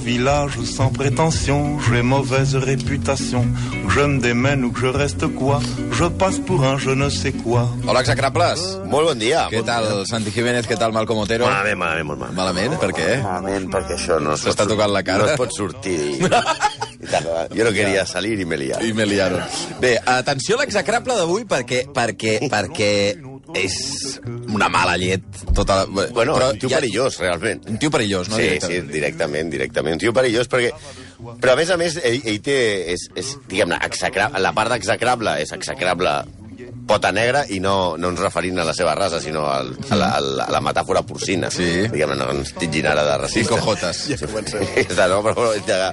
village sans prétention, j'ai mauvaise réputation. Que je me démène ou que je reste quoi, je passe pour un je ne sais quoi. Hola, execrables. Molt bon dia. Què Bon tal, dia. Santi Jiménez? Què tal, Malcom Otero? Malament, malament, molt malament. Malament? Per què? Malament, perquè això no... es pot S'està sor- tocant la cara. No es pot sortir. I tant, jo no queria salir i me liar. I me liaron. Bé, atenció a l'execrable d'avui perquè, perquè, perquè és una mala llet. Tota la... Bueno, Però un tio ja- perillós, realment. Un tio perillós, no? sí, Directament. sí, directament, directament. Un tio perillós perquè... Però, a més a més, ell, ell té... És, és, diguem-ne, execra... la part d'execrable és execrable pota negra i no, no ens referint a la seva raça, sinó al, a, la, a, la, a la metàfora porcina. Sí. Diguem-ne, no ens tingin ara de I racista. cojotes. Ja comencem. Està, no, però, ja,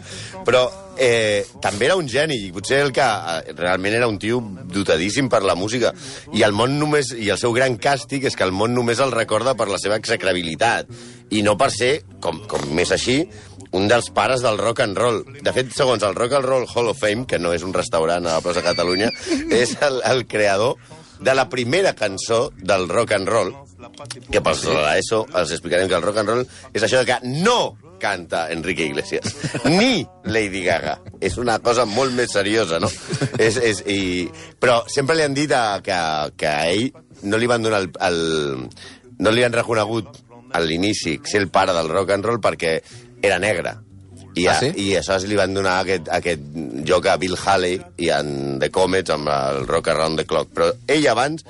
però eh, també era un geni, i potser el que eh, realment era un tio dotadíssim per la música. I el món només i el seu gran càstig és que el món només el recorda per la seva execrabilitat i no per ser, com, com més així, un dels pares del rock and roll. De fet, segons el Rock and Roll Hall of Fame, que no és un restaurant a la plaça Catalunya, és el, el creador de la primera cançó del rock and roll, que pels de l'ESO els explicarem que el rock and roll és això de que no canta Enrique Iglesias, ni Lady Gaga. És una cosa molt més seriosa, no? és, és, i... Però sempre li han dit a, que, que a ell no li van donar el, el... no li han reconegut a l'inici ser el pare del rock and roll perquè era negre. I, Ah, a, sí? I aleshores li van donar aquest, aquest joc a Bill Haley i en The Comets amb el Rock Around the Clock. Però ell abans,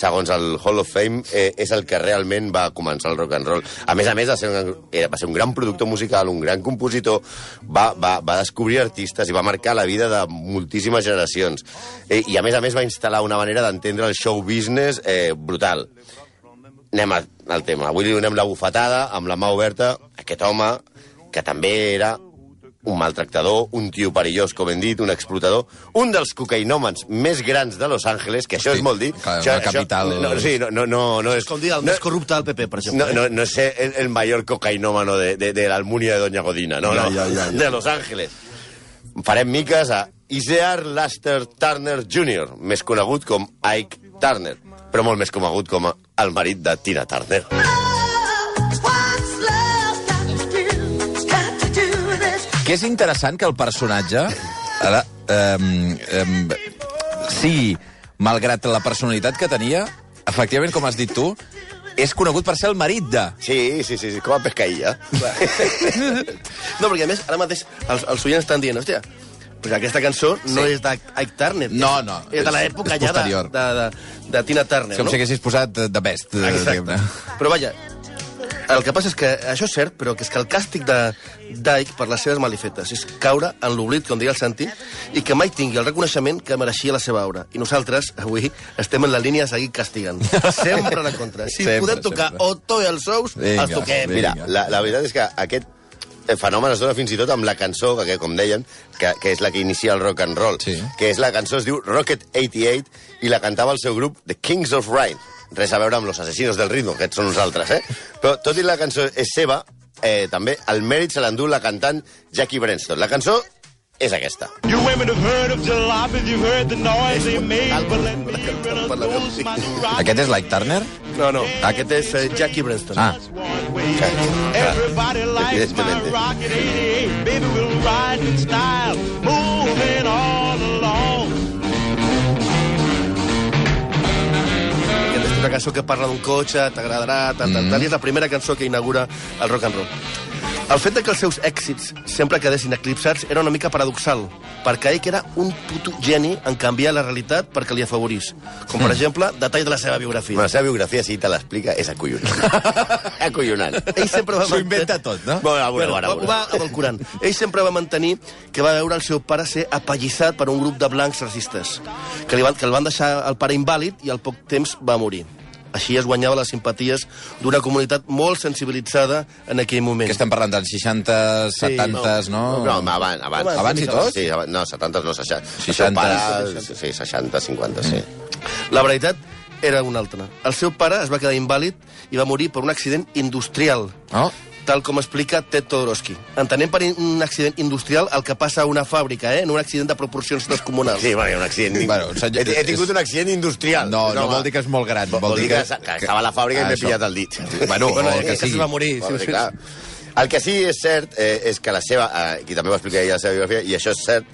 segons el Hall of Fame, eh, és el que realment va començar el rock and roll. A més a més, va ser un, eh, va ser un gran productor musical, un gran compositor, va, va, va descobrir artistes i va marcar la vida de moltíssimes generacions. Eh, I a més a més va instal·lar una manera d'entendre el show business eh, brutal anem a- al tema. Avui li donem la bufetada amb la mà oberta a aquest home que també era un maltractador, un tio perillós, com hem dit, un explotador, un dels cocainòmans més grans de Los Angeles, que això Hosti, és molt dir... clar, això, una capital- No, sí, no, no, no, no és... Com dir, el no, més corrupte del PP, per no, exemple. no, no sé, el, el mayor cocainómano de, de, de la Almunia de Doña Godina, no, no, Ja, ja, ja, ja. de Los Angeles. Farem miques a Isear Laster Turner Jr., més conegut com Ike Turner, però molt més conegut com a el marit de Tina Turner. Que és interessant que el personatge ara, um, um, sigui, malgrat la personalitat que tenia, efectivament, com has dit tu, és conegut per ser el marit de... Sí, sí, sí, sí, com a pescaïlla. eh? No, perquè a més, ara mateix els, els oients estan dient, hòstia, però aquesta cançó no Sí. és d'Ike Turner. No, no, És de és- l'època és ja de, posterior. de, de, de Tina Turner, Com no? si haguessis posat eh, de best, eh, Exacte. diguem-ne. Però vaja, el que passa és que això és cert, però que és que el càstig de Dyke per les seves malifetes és caure en l'oblit, com deia el Santi, i que mai tingui el reconeixement que mereixia la seva obra. I nosaltres, avui, estem en la línia de seguir castigant. Sempre en contra. Sempre, Si sempre, podem tocar sempre. Otto i els ous, Vinga, els toquem. vinga. Mira, la, la veritat és que aquest eh, fenomen es dona fins i tot amb la cançó, que com deien, que, que és la que inicia el rock and roll, Sí. que és la cançó, es diu Rocket 88, i la cantava el seu grup The Kings of Rhyme. Res a veure amb los asesinos del ritmo, que són nosaltres, eh? Però tot i la cançó és seva, eh, també el mèrit se l'endú la cantant Jackie Brenston. La cançó és aquesta. You women have heard of jalopies, you've heard the noise they made, but let me introduce my new rock. Aquest és Like Turner? No, no, aquest és eh, Jackie Brenston. Ah, Ah, Everybody likes my Evidentemente. rocket 88. Baby, we'll ride in style, moving all along. Aquesta és una cançó que parla d'un cotxe, t'agradarà, tal, tal, Mm-hmm. tal, i és la primera cançó que inaugura el rock and roll. El fet de que els seus èxits sempre quedessin eclipsats era una mica paradoxal, perquè ell que era un puto geni en canviar la realitat perquè li afavorís. Com, Mm. per exemple, detall de la seva Bueno, biografia. la seva biografia, si te l'explica, és acollonant. acollonant. Ell sempre va S'ho inventa tot, no? Bueno, a veure, a veure, a ho va avalcorant. Ell sempre va mantenir que va veure el seu pare ser apallissat per un grup de blancs racistes, que, li van, que el van deixar el pare invàlid i al poc temps va morir. Així es guanyava les simpaties d'una comunitat molt sensibilitzada en aquell moment. que estem parlant dels 60, 70, no? No, home, abans. Abans, Abans, Abans i tot? Sí, abans, no, 70 no, 60. 60. 60. Pare, sí, 60, 50, sí. La veritat era una altra. El seu pare es va quedar invàlid i va morir per un accident industrial, No? tal com explica Ted Todorowsky. Entenem per un accident industrial el que passa a una fàbrica, eh? en un accident de proporcions descomunals. Sí, bueno, un accident... Bueno, Bueno, un senyor- he, he tingut un accident industrial. No, no home. vol dir que és molt gran. Vol, vol dir que, que, estava a la fàbrica i m'he Això. pillat el dit. Bueno, o el eh, que que es sigui. va morir. Vol Sí, dir, sí, clar. sí. El que sí que és cert eh, és que la seva... Eh, qui també va explicar ella la seva biografia, i això és cert,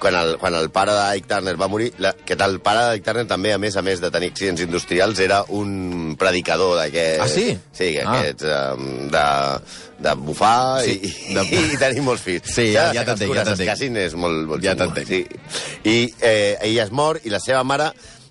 quan el, quan el pare de Ike Turner va morir, la, que tal, el pare de Ike Turner també, a més a més de tenir accidents industrials, era un predicador d'aquest... Ah, sí? Sí, Ah. aquests um, de, de bufar sí, Sí, i, de- i, i tenir molts fills. Sí, ja- ja les t'entenc, ja cures es t'entenc. casin és molt, molt Ja xungo, t'entenc. Sí. I eh, ella es mor i la seva mare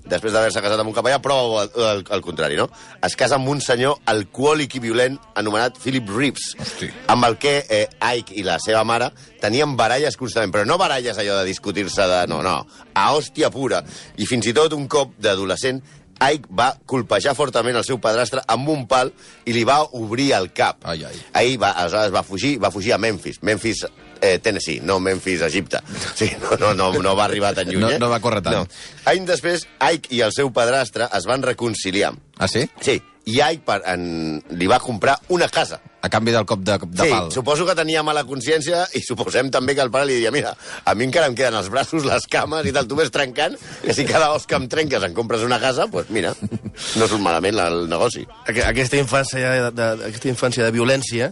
després d'haver-se casat amb un capellà, prova el, el, el contrari, no? Es casa amb un senyor alcohòlic i violent anomenat Philip Reeves, Hosti. amb el que eh, Ike i la seva mare tenien baralles constantment, però no baralles allò de discutir-se de... No, no, a hòstia pura. I fins i tot un cop d'adolescent, Ike va colpejar fortament el seu padrastre amb un pal i li va obrir el cap. Ai, ai. Ahir va, aleshores va fugir, va fugir a Memphis. Memphis, eh, Tennessee, no Memphis, Egipte. Sí, no, no, no, no va arribar tan lluny, No- eh? no va córrer tant. Any després, Ike i el seu padrastre es van reconciliar. Ah, sí? Sí, i Ike per, en, li va comprar una casa. A canvi del cop de, de sí, pal. suposo que tenia mala consciència i suposem també que el pare li diria mira, a mi encara em queden els braços, les cames i tal, tu ves trencant, que si cada os que em trenques em compres una casa, doncs pues mira, no surt malament la- el negoci. Aqu- aquesta infància de, de, aquesta infància de violència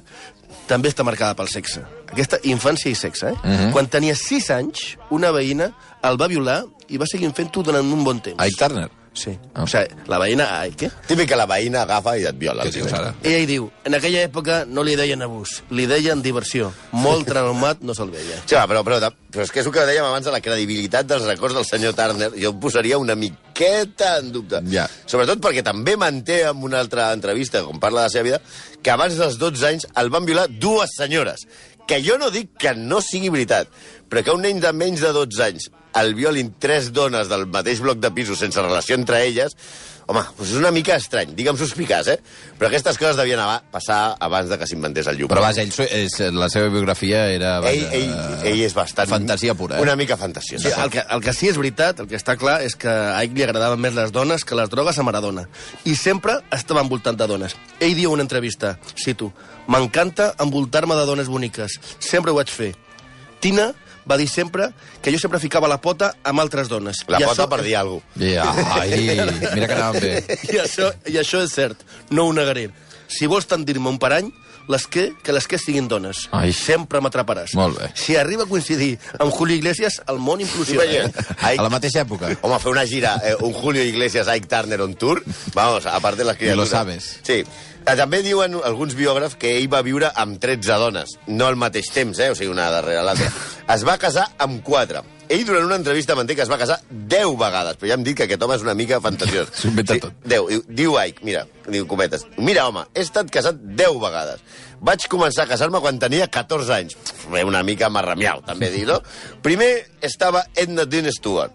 també està marcada pel sexe. Aquesta infància i sexe, eh? Uh -huh. Quan tenia 6 anys, una veïna el va violar i va seguir fent-ho durant un bon temps. Ike Turner. Sí. Ah. Oh. O sigui, la veïna Ike... Eh? Típic que la veïna agafa i et viola. eh? Què dius ara? Ella hi diu, en aquella època no li deien abús, li deien diversió. Molt traumat no se'l veia. Sí, home, però, però, però és que és el que dèiem abans de la credibilitat dels records del senyor Turner. Jo em posaria una miqueta en dubte. Ja. Sobretot perquè també manté en una altra entrevista, com parla de la seva vida, que abans dels 12 anys el van violar dues senyores. Que jo no dic que no sigui veritat, però que un nen de menys de 12 anys el violin tres dones del mateix bloc de pisos sense relació entre elles, home, doncs és una mica estrany, digue'm suspicaç, eh? Però aquestes coses devien ava- passar abans de que s'inventés el llum. Però vaja, ell, so- és, la seva biografia era... Ell, Vaja, ell, ell és bastant... Fantasia pura, eh? Una mica fantasia. Sí, el, que, el que sí és veritat, el que està clar, és que a Ike li agradaven més les dones que les drogues a Maradona. I sempre estava envoltant de dones. Ell diu en una entrevista, cito, «M'encanta envoltar-me de dones boniques. Sempre ho vaig fer. Tina va dir sempre que jo sempre ficava la pota amb altres dones. La I pota això- per dir alguna cosa. Ja, ai, mira que anaven bé. I això, I això és cert, no ho negaré. Si vols tendir-me un parany, les que, que les que siguin dones. Ai. Sempre m'atraparàs. Molt bé. Si arriba a coincidir amb Julio Iglesias, el món eh? implosiona. Imagina't. Ai, eh? A la mateixa època. Home, fer una gira, eh, un Julio Iglesias, Ike Turner on tour, vamos, a part de les criatures. lo sabes. Sí. Eh, També diuen alguns biògrafs que ell va viure amb 13 dones, no al mateix temps, eh? o sigui, una darrere l'altra. Es va casar amb 4. Ell, durant una entrevista, manté que es va casar 10 vegades, però ja hem dit que aquest home és una mica fantasiós. S'ho inventa tot. 10. Diu, diu Ike, mira, diu cometes, mira, home, he estat casat 10 vegades. Vaig començar a casar-me quan tenia 14 anys. Pff, Una mica marramiau, també dir, no? Primer estava Edna Dean Stewart.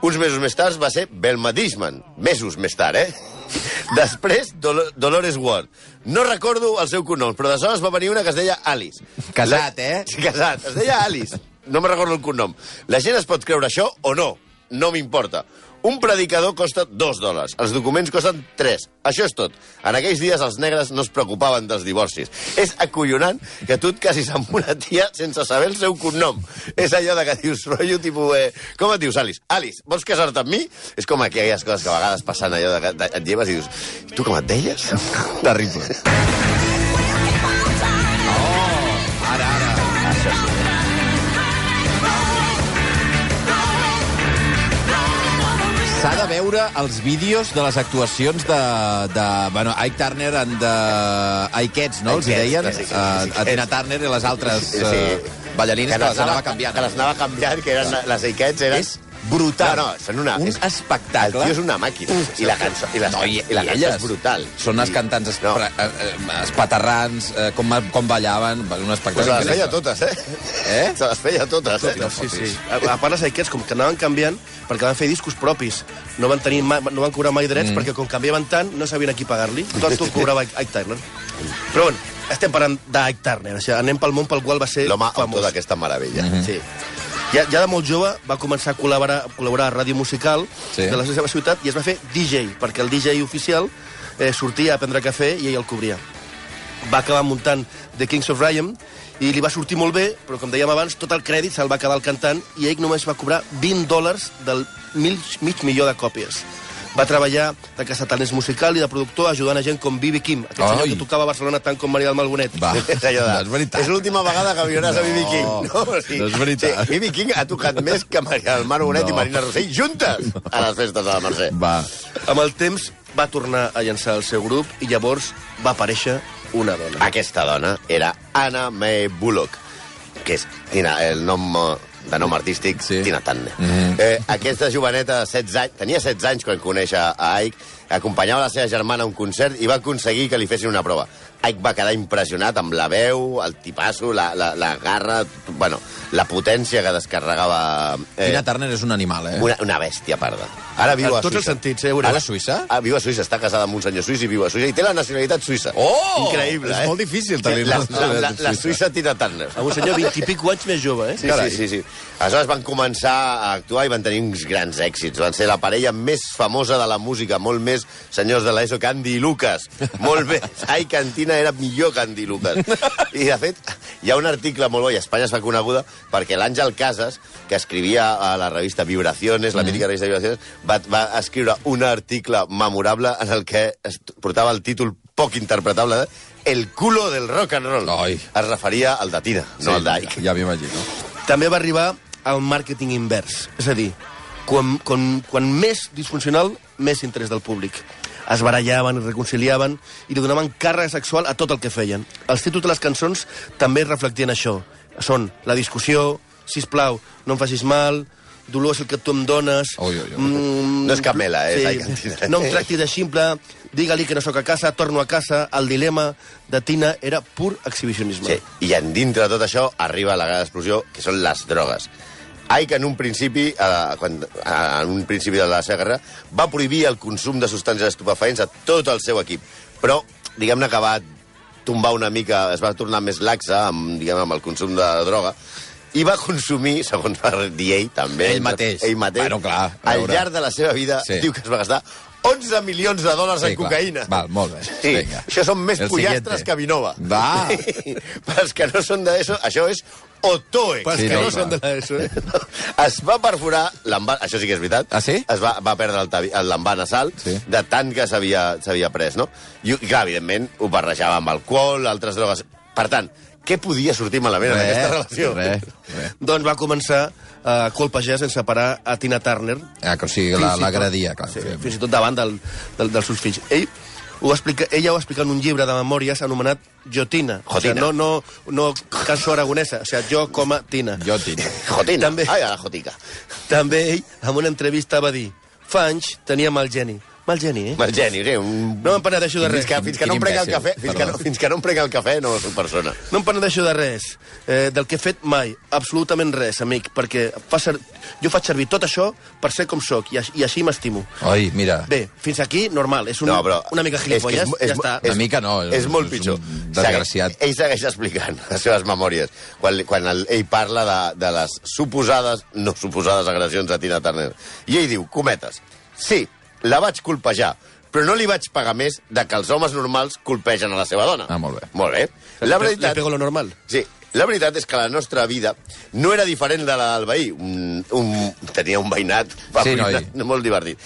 Uns mesos més tard va ser Belma Dishman. Mesos més tard, eh? Després, Dol Dolores Ward. No recordo el seu cognom, però d'aleshores va venir una que es deia Alice. Casat, eh? Sí, casat. Es deia Alice. No me recordo el cognom. La gent es pot creure això o no. No m'importa. Un predicador costa 2 dòlars. Els documents costen 3. Això és tot. En aquells dies els negres no es preocupaven dels divorcis. És acollonant que tu et casis amb una tia sense saber el seu cognom. És allò de que dius, rotllo, tipus... Eh, com et dius, Alice? Alice, vols casar-te amb mi? És com aquelles coses que a vegades passen allò de que de- et lleves i dius, tu com et deies? Terrible. S'ha de veure els vídeos de les actuacions de... de bueno, Ike Turner and de... Ikeets, no? Els hi Ikeets, deien? sí, sí, sí, Eh, A Tina Turner i les altres eh, ballarines que les anava canviant. eh? Que les anava canviant, que eren, les Aikets eren... És brutal. No, no, són una... Un és- espectacle. El tio és una màquina. I la cançó, i la, No, i, i la i cançó elles és brutal. Són els I- cantants No, espre- eh, eh, espaterrans, eh, com, com ballaven, un espectacle pues increïble. se les feia totes, eh? Eh? Se les feia totes, eh? Sí, sí. A, a part, les Aikets, com que anaven canviant, perquè van fer discos propis, no van, tenir mai, no van cobrar mai drets, mm. perquè com canviaven tant, no sabien a qui pagar-li. Tot ho cobrava Ike Ike Turner. Però bueno, estem parlant d'Ike Turner. O sigui, anem pel món pel qual va ser L'home autor famós. d'aquesta meravella. Mm-hmm. Mm Sí. Ja, ja de molt jove va començar a col·laborar, a col·laborar a ràdio musical Sí. sí. de la seva ciutat i es va fer DJ, perquè el DJ oficial eh, sortia a prendre cafè i ell el cobria. Va acabar muntant The Kings of Ryan i li va sortir molt bé, però com dèiem abans, tot el crèdit se'l va quedar el cantant i ell només va cobrar 20 dòlars del mil, mig milió de còpies. Va treballar de casataners musical i de productor ajudant a gent com Bibi Kim, aquest Ai. Ai. senyor que tocava a Barcelona tant com Maria del Malbonet. Va, Doncs És allò de... no és veritat. És l'última vegada que viuràs no, a B.B. King. No, o sigui, no és veritat. Sí, B.B. King ha tocat més que Maria del Mar Bonet No. i Marina Rossell juntes a les festes de la Mercè. Va. Amb el temps va tornar a llançar el seu grup i llavors va aparèixer una dona. Aquesta dona era Anna May Bullock, que és Tina, el nom eh, de nom artístic, Sí. sí. Tina Turner. Mhm. Mm -hmm. eh, aquesta joveneta de 16 anys, tenia 16 anys quan coneix a a Ike, acompanyava la seva germana a un concert i va aconseguir que li fessin una prova. Ike va quedar impressionat amb la veu, el tipasso, la, la, la garra, bueno, la potència que descarregava... eh, Tina Turner és un animal, eh? Una, una bèstia parda. Ara viu a, En tots els Suïssa. sentits, eh, Oriol? Ara a Suïssa? Ah, viu a Suïssa, està casada amb un senyor suís i viu a Suïssa. I té la nacionalitat suïssa. Oh! Increïble, És eh? molt difícil, tenir la la, la, la, nacionalitat la suïssa. Suïssa Tina Turner. Amb un senyor 20 i pico anys més jove, eh? Sí, sí, sí, sí. Aleshores van començar a actuar i van tenir uns grans èxits. Van ser la parella més famosa de la música, molt més senyors de l'ESO que Andy i Lucas. Molt bé. Ai, Cantina era millor que Andy i Lucas. I, de fet, hi ha un article molt bo, i a Espanya es fa coneguda, perquè l'Àngel Casas, que escrivia a la revista Vibraciones, la mítica revista Vibraciones, va, va escriure un article memorable en el que es portava el títol poc interpretable de El culo del rock and roll. Ai. Es referia al de Tina, no al d'Ike. Ja m'imagino. També va arribar al màrqueting invers. És a dir, quan, quan, quan més disfuncional, més interès del públic. Es barallaven, es reconciliaven i li donaven càrrega sexual a tot el que feien. Els títols de les cançons també reflectien això. Són la discussió, sisplau, no em facis mal, dolor és el que tu em dones... Ui, ui, ui. Mm, No és cap mela, eh, Ai, Cantina. No em tractis de ximple, digue-li que no sóc a casa, torno a casa. El dilema de Tina era pur exhibicionisme. Sí, I en dintre de tot això arriba la gran explosió, que són les drogues. Ike, en un principi, eh, quan, eh, en un principi de la seva guerra, va prohibir el consum de substàncies estupefaents a tot el seu equip. Però, diguem-ne que va tombar una mica, es va tornar més laxa amb, diguem, amb el consum de droga, i va consumir, segons va dir ell, també... Ell mateix. Ell mateix. Bueno, clar, a al veure. llarg de la seva vida, Sí. sí. diu que es va gastar 11 milions de dòlars Sí, en clar. cocaïna. Val, molt bé. Sí, Vinga. això són més El pollastres siguiente. que Vinova. Va. Per als que no són d'això, això és Otoe. Pels Sí, que no, no clar. són de l'ESO, eh? Es va perforar l'envà... Això sí que és veritat. Ah, sí? Es va, va perdre el tavi- el l'envà nasal Sí. de tant que s'havia s'havia pres, no? I, i, clar, evidentment, ho barrejava amb alcohol, altres drogues... Per tant, què podia sortir malament en aquesta relació? Res, res. Doncs va començar a colpejar sense parar a Tina Turner, Ah, que, o sigui, Fins i la- tot- l'agradia, clar. sí, fins i tot davant del, del, dels seus fills. Ell ho explica, ella ho explica en un llibre de memòries anomenat Jotina. O sigui, Jotina. no, no, no cançó aragonesa, o sigui, jo com a Tina. Jo tinc. Jotina. També- Ai, a la jotica. També ell, en una entrevista, va dir fa anys tenia mal geni. Mal geni, eh? Mal geni, sí, un... No em penedeixo de fins res. que, fins que no em Quin prenc el imbècil, cafè, fins que, no, perdó. fins que no em prenc el cafè, no soc persona. No em penedeixo de res, eh, del que he fet mai, absolutament res, amic, perquè fa ser... jo faig servir tot això per ser com sóc i, aix- i així m'estimo. Oi, mira. Bé, fins aquí, normal, és un, no, però, una mica és que és gilipolles, mo- és, és ja mo- està. Una mica no, És molt és un pitjor. desgraciat. Segueix- Ell segueix explicant les seves memòries. Quan, li- quan el, ell parla de, de les suposades, no suposades agressions a Tina Turner. I ell diu, cometes, sí, la vaig colpejar, però no li vaig pagar més de que els homes normals colpegen a la seva dona. Ah, molt bé. Molt bé. La Li- veritat... Li pego lo normal. Sí, la veritat és que la nostra vida no era diferent de la del veí. Un, un, tenia un veïnat Sí, noi. veïnat molt divertit.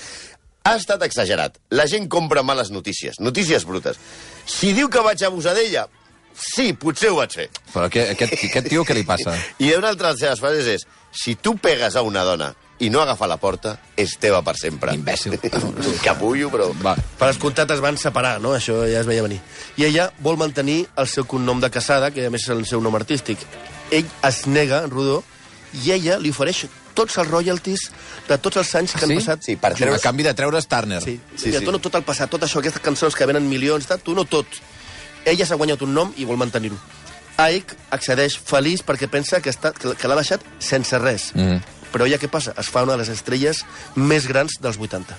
Ha estat exagerat. La gent compra males notícies, notícies brutes. Si diu que vaig abusar d'ella, sí, potser ho vaig fer. Però què, aquest, aquest tio què li passa? I una altra de les seves frases és si tu pegues a una dona i no agafa la porta, és teva per sempre. Imbècil. Capullo, però... Va. Per escoltat es van separar, no? Això ja es veia venir. I ella vol mantenir el seu cognom de casada, que a més és el seu nom artístic. Ell es nega, en Rodó, i ella li ofereix tots els royalties de tots els anys Sí? que han passat. Ah, Sí, per A treure's... canvi de treure's Turner. Sí, Sí, sí, ja sí. sí. dono tot el passat, tot això, aquestes cançons que venen milions, tal, tu no tot. Ella s'ha guanyat un nom i vol mantenir-ho. Ike accedeix feliç perquè pensa que, està, que que l'ha deixat sense res. Mm. Però ella què passa? Es fa una de les estrelles més grans dels 80.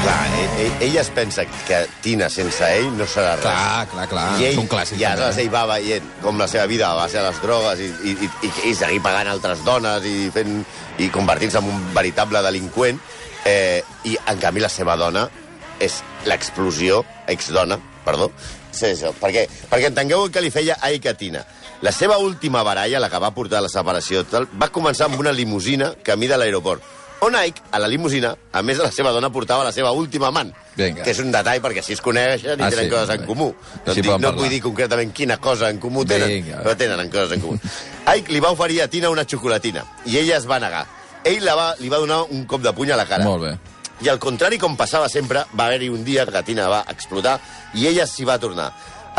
Clar, ell, ell, ella es pensa que Tina sense ell no serà res. Clar, clar, clar. I ell, És un clàssic, I aleshores també. eh? ell va veient com la seva vida va ser a les drogues i, i, i, i, i seguir pagant altres dones i, fent, i convertint-se en un veritable delinqüent. Eh, I, en canvi, la seva dona és l'explosió, ex-dona, Perdó? Sí, això. Perquè, perquè entengueu el que li feia a Icatina. La seva última baralla, la que va portar a la separació, tal, va començar amb una limusina camí de l'aeroport. On Ike, a la limusina, a més de la seva dona, portava la seva última amant. Vinga. Que és un detall, perquè si es coneixen i Ah, tenen sí, coses en bé. comú. No, Així dic, poden no parlar. vull dir concretament quina cosa en comú tenen, Vinga. però tenen en coses en comú. Ike li va oferir a Tina una xocolatina, i ella es va negar. Ell la va, li va donar un cop de puny a la cara. Molt bé. I al contrari, com passava sempre, va haver-hi un dia que Tina va explotar i ella s'hi va tornar.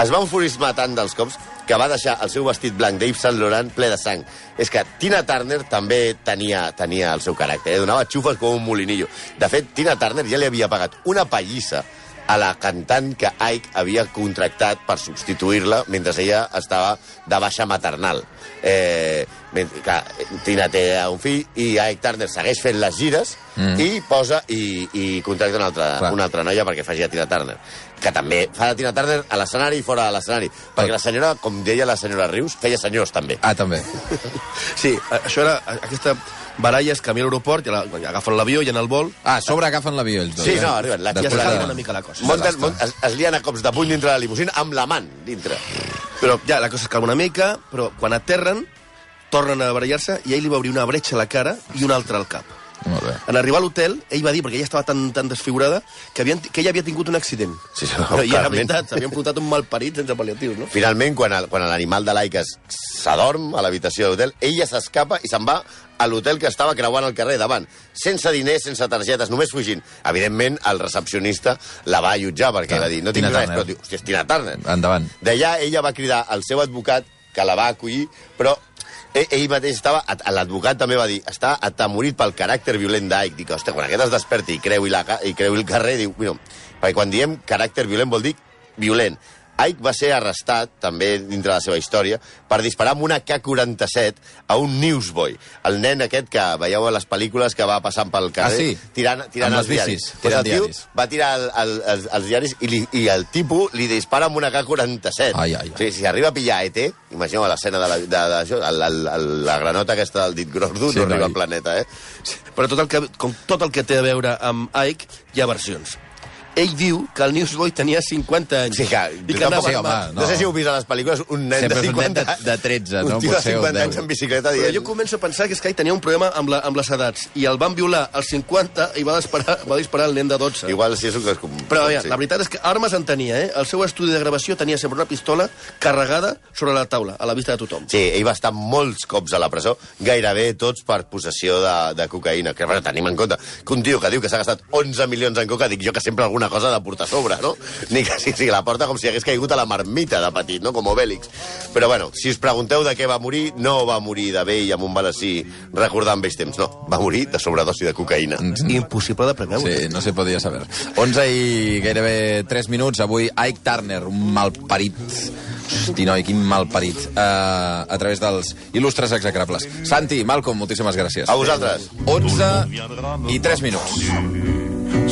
Es va enfurismar tant dels cops que va deixar el seu vestit blanc d'Yves Saint Laurent ple de sang. És que Tina Turner també tenia, tenia el seu caràcter, eh? donava xufes com un molinillo. De fet, Tina Turner ja li havia pagat una pallissa a la cantant que Ike havia contractat per substituir-la mentre ella estava de baixa maternal. Eh, mentre, clar, Tina té un fill i Ike Turner segueix fent les gires mm. i posa i, i contracta una altra, Clar. una altra noia perquè faci a Tina Turner que també fa de Tina Turner a l'escenari i fora de l'escenari. Perquè la senyora, com deia la senyora Rius, feia senyors també. Ah, també. Sí, a- això era... a- Aquesta baralla es canvia a l'aeroport, i la- agafen l'avió i en el vol... Ah, a sobre agafen l'avió ells dos. Sí, eh? no, arriben. La Ja Després tia s'ha de- una mica la cosa. Monten, mont, es, es lien a cops de puny dintre la limusina amb l'amant dintre. Però ja, la cosa es calma una mica, però quan aterren, tornen a barallar-se i ell li va obrir una bretxa a la cara i una altra al cap. Molt bé. En arribar a l'hotel, ell va dir, perquè ella estava tan, tan desfigurada, que, havien, que ella havia tingut un accident. Sí, sí, Però i era Oh, clarament. veritat, s'havia enfrontat un malparit sense pal·liatius, no? Finalment, quan el- quan l'animal de l'Aica s'adorm a l'habitació de l'hotel, ella s'escapa i se'n va a l'hotel que estava creuant el carrer davant, sense diners, sense targetes, només fugint. Evidentment, el recepcionista la va allotjar perquè Clar, va dir, no tinc Tina res, Turner. però diu, hòstia, és Tina Turner. Endavant. D'allà ella va cridar al seu advocat, que la va acollir, però e- ell mateix estava... at- L'advocat també va dir, està atemorit pel caràcter violent d'Aic. Dic, hòstia, quan aquest es desperti i creu, i la, ca- i creu el carrer, diu... Mira, perquè quan diem caràcter violent vol dir violent. Ike va ser arrestat, també dintre de la seva història, per disparar amb una K-47 a un newsboy. El nen aquest que veieu a les pel·lícules que va passant pel carrer Ah, sí? tirant, tirant Amb els les diaris. bicis, Pues tirant el tio diaris. va tirar el, el, els, els diaris i, li, i el tipus li dispara amb una K-47. Ai, ai, ai. O sigui, si arriba a pillar ET, imagineu l'escena de la, de, de, això, el, el, el, la granota aquesta del dit gros d'un Sí, sí, no arriba noi. al planeta, eh? Però tot el que, com tot el que té a veure amb Ike, hi ha versions. Ell diu que el Newsboy tenia 50 anys. Sí, que, I que anava tampoc- Sí, home, armat. no. no sé si heu vist a les pel·lícules un nen Sempre de és un nen 50 de- de 13, no? Un tio de Potser un 50 anys 10. en bicicleta Però dient... jo començo a pensar que és que ell tenia un problema amb, la, amb les edats i el van violar als 50 i va disparar, va disparar el nen de 12. Igual si és un cas comú. Però ja, la veritat és que armes en tenia, eh? El seu estudi de gravació tenia sempre una pistola carregada sobre la taula, a la vista de tothom. Sí, ell va estar molts cops a la presó, gairebé tots per possessió de, de cocaïna. Que, bueno, tenim en compte que un tio que diu que s'ha gastat 11 milions en coca, dic jo que sempre alguna cosa ha de portar a sobre, no? Ni que sí, sí, la porta com si hagués caigut a la marmita de petit, no? Com Obélix. Però, bueno, si us pregunteu de què va morir, no va morir de vell amb un balasí recordant vells temps, no. Va morir de sobredosi de cocaïna. Impossible de preveure. Sí, no se podia saber. 11 i gairebé 3 minuts. Avui Ike Turner, un malparit. Hosti, noi, quin malparit. Uh, a través dels il·lustres execrables. Santi, Malcolm, moltíssimes gràcies. A vosaltres. 11 i 3 minuts.